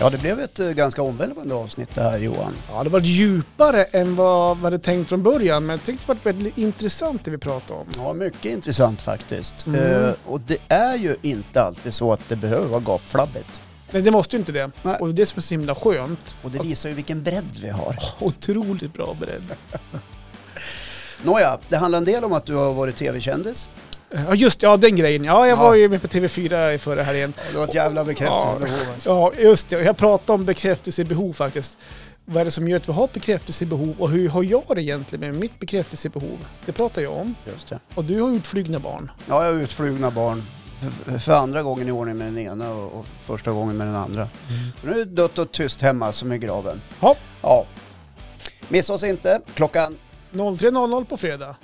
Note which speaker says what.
Speaker 1: Ja, det blev ett eh, ganska omvälvande avsnitt det här Johan.
Speaker 2: Ja, det var djupare än vad man hade tänkt från början, men jag tyckte det var väldigt intressant det vi pratade om.
Speaker 1: Ja, mycket intressant faktiskt.
Speaker 2: Mm.
Speaker 1: Eh, och det är ju inte alltid så att det behöver vara gapflabbigt.
Speaker 2: Nej, det måste ju inte det.
Speaker 1: Nej.
Speaker 2: Och det är som är så himla skönt.
Speaker 1: Och det visar ju vilken bredd vi har.
Speaker 2: Otroligt bra beredd.
Speaker 1: Nåja, det handlar en del om att du har varit tv-kändis.
Speaker 2: Ja, just ja, den grejen. Ja, jag
Speaker 1: Ja.
Speaker 2: var ju med på TV4 i förra helgen.
Speaker 1: Du har ett jävla
Speaker 2: bekräftelsebehov, Ja, just det. Jag pratade om bekräftelsebehov faktiskt. Vad är det som gör att vi har bekräftelsebehov och hur har jag det egentligen med mitt bekräftelsebehov? Det pratar jag om.
Speaker 1: Just det.
Speaker 2: Och du har utflygna barn.
Speaker 1: Ja, jag har utflugna barn. F- För andra gången i ordning med den ena och och första gången med den andra. Nu är det dött och tyst hemma som i graven.
Speaker 2: Ja,
Speaker 1: Ja. Missa oss inte. Klockan
Speaker 2: 03.00 på fredag.